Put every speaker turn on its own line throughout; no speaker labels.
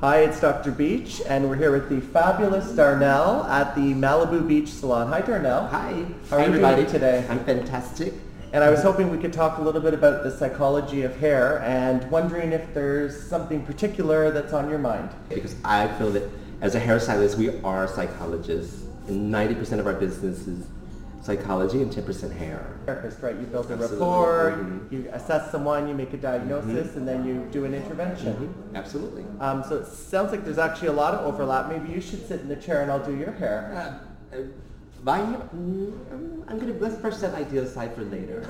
Hi, it's Dr. Beach, and we're here with the fabulous Darnell at the Malibu Beach Salon. Hi, Darnell.
Hi.
How are you
everybody
doing today?
I'm fantastic.
And I was hoping we could talk a little bit about the psychology of hair and wondering if there's something particular that's on your mind.
Because I feel that as a hairstylist, we are psychologists. And 90% of our business is psychology and 10% hair.
Therapist, right? You build a
Absolutely. Mm-hmm.
rapport,
Mhm.
you assess someone, you make a diagnosis, and then you do an intervention.
Mm-hmm. Absolutely.
Um, so it sounds like there's actually a lot of overlap. Maybe you should sit in the chair and I'll do your hair.
Uh, uh, my, mm, I'm going to, let's brush that idea aside for later.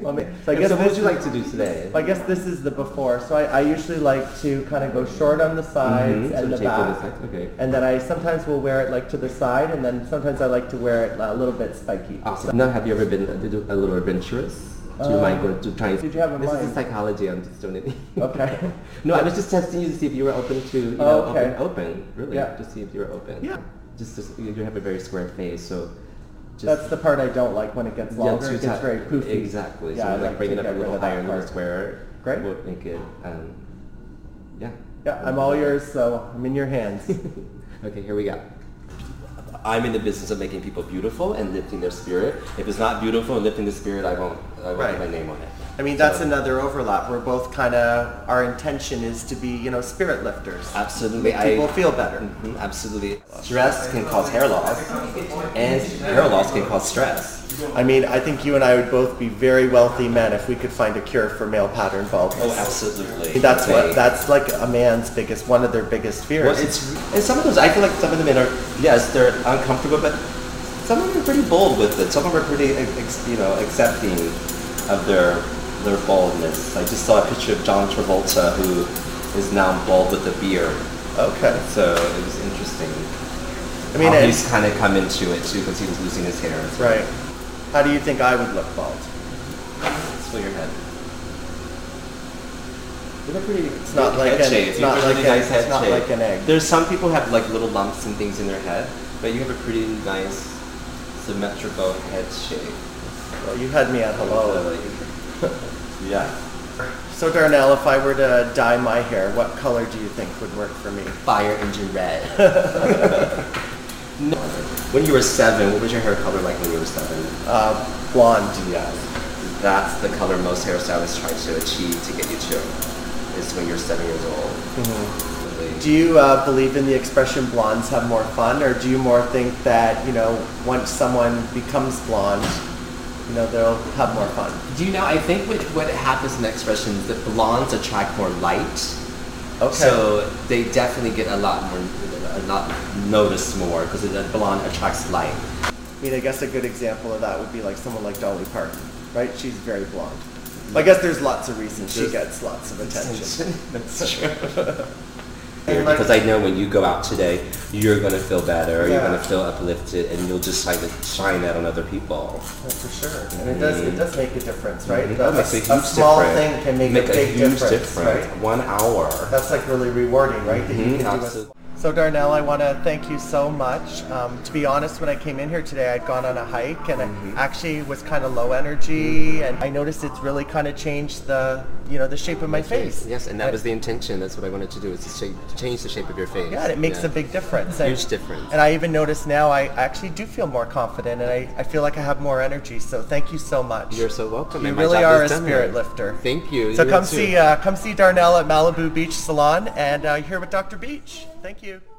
Well, ma- so
so,
I guess
what would
this
you
is-
like to do today?
Well, I guess this is the before. So I, I usually like to kind of go short on the sides
Mhm, so
and the
take it
back.
aside, okay.
And then I sometimes will wear it like to the side, and then sometimes I like to wear it a little bit spiky.
Awesome. Now, have you ever been a, a little adventurous? Do you
Uh,
mind going to try?
did you have in
This
mind?
is psychology. I'm just doing it.
Okay.
No, I was just testing you to see if you were open to, you
Oh,
know,
okay.
open, open, really,
Yeah.
to see if you were open.
Yeah.
Just, just you you have a very square face, so just
That's the part I don't like when it gets
yeah,
longer.
too
it gets
tight.
very poofy.
Exactly.
Yeah,
so
I
like,
like
bringing
to
up
get
a
rid
little
of that
higher, a little
part.
square.
Great.
Would make it. Um, yeah.
Yeah, I'm all yours, so I'm in your hands.
Okay, here we go. I'm in the business of making people beautiful and lifting their spirit. If it's not beautiful and lifting the spirit, I won't. I won't
Right.
put my name on it.
I mean, that's another overlap. We're both kind of our intention is to be, you know, spirit lifters.
Absolutely, I-
feel better.
Mhm, absolutely. Stress can cause hair loss, and hair loss can cause stress.
I mean, I think you and I would both be very wealthy men if we could find a cure for male pattern baldness.
Oh, absolutely.
That's what.
They-
That's like a man's biggest, one of their biggest fears.
Well, it's and some of those. I feel like some of the men are yes, they're uncomfortable, but some of them are pretty bold with it. Some of them are pretty ex, you know accepting of their their baldness. I just saw a picture of John Travolta who is now bald with a beard.
okay.
So it was interesting.
I mean,
how
it's,
he's kind of come into it too because he was losing his hair.
right. How do you think I would look bald?
Swing your head. You look pretty. It's
not like an- it's not like
really
an-
nice head
it's not
shape.
like an egg.
There's some people have like little lumps and things in their head, but you have a pretty nice symmetrical head shape.
Well, you had me at hello.
Really. yeah.
So Darnell, if I were to dye my hair, what color do you think would work for me?
Fire into red. no. When you were seven, what was your hair color like when you were seven?
Uh, blonde.
Yes. That's the color most hairstylists try to achieve to get you to. Is when you're seven years old. Really.
Do you uh, believe in the expression blondes have more fun, or do you more think that you know once someone becomes blonde, you know they'll have more fun?
Do you know? I think what what happens in the expression is that blondes attract more light,
Okay.
so they definitely get a lot more, a lot noticed more because a blonde attracts light.
I mean, I guess a good example of that would be like someone like Dolly Parton, right? She's very blonde. I guess there's lots of reasons she
Mm-hmm. There's-
gets lots of attention.
That's true.
And like-
Because I know when you go out today, you're gonna feel better. You're
Yeah.
gonna feel uplifted, and you'll just shine shine that on other people.
That's for sure. And it does it does make a difference, right?
It
That's-
Mm-hmm. makes a
a,
huge
small
difference.
thing can make, a big
huge
difference, right?
One hour.
That's like really rewarding, right? That you
Mhm,
can do a
absolutely.
So Darnell, I want to thank you so much. Um, to be honest, when I came in here today, I'd gone on a hike and
Mm-hmm.
I actually was kind of low energy, and I noticed it's really kind of changed the you know the shape of my, face.
Yes, and that was the intention. That's what I wanted to do. Is to shape, change the shape of your face.
Yeah, it makes
Yeah.
a big difference.
Huge
And-
difference.
And I even notice now I actually do feel more confident and I, I feel like I have more energy. So thank you so much.
You're so welcome.
You
and my
really
job
are a
is done
spirit
here.
lifter.
Thank you.
So
You
come
too.
see uh, come see Darnell at Malibu Beach Salon and uh, you're here with Dr. Beach. Thank you.